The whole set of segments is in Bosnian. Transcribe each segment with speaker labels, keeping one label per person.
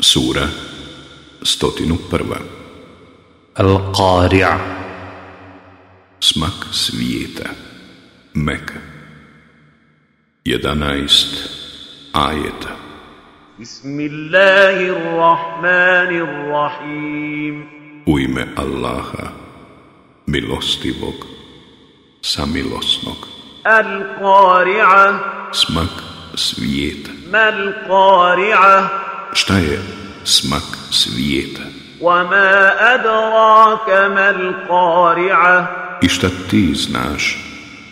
Speaker 1: Sura 101.
Speaker 2: القارعة
Speaker 1: Smak svijeta. Meka. 11 ajeta.
Speaker 3: بسم الله الرحمن الرحيم
Speaker 1: U ime Allaha, milostivog, samilosnog.
Speaker 3: القارعة
Speaker 1: Smak svijeta.
Speaker 3: ما القارعة
Speaker 1: Šta je smak svijeta?
Speaker 3: وما أدراك ما القارعة
Speaker 1: I šta ti znaš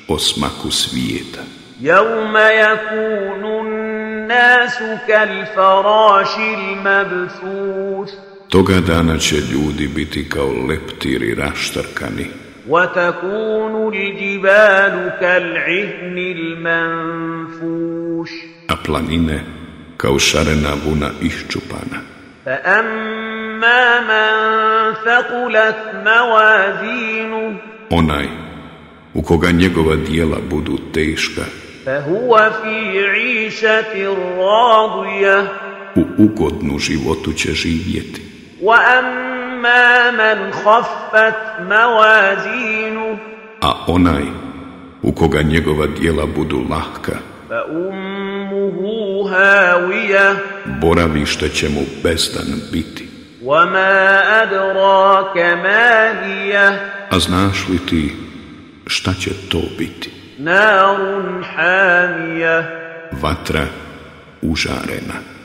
Speaker 1: o smaku svijeta?
Speaker 3: يوم يكون الناس كالفراش المبثوث
Speaker 1: Toga dana će ljudi biti kao leptiri raštarkani,
Speaker 3: وتكون الجبال كالعهن المنفوش
Speaker 1: a planine kao šarena vuna iščupana.
Speaker 3: فأما من ثقلت موازينه
Speaker 1: Onaj u koga njegova dijela budu teška,
Speaker 3: فهو في عيشة راضية
Speaker 1: u ugodnu životu će živjeti.
Speaker 3: وأما من خفت موازينه
Speaker 1: A onaj u koga njegova dijela budu lahka,
Speaker 3: فأمه هاوية
Speaker 1: boravište će mu bezdan biti.
Speaker 3: وما أدراك ما هي
Speaker 1: A znaš li ti šta će to biti?
Speaker 3: نار حامية
Speaker 1: Vatra užarena.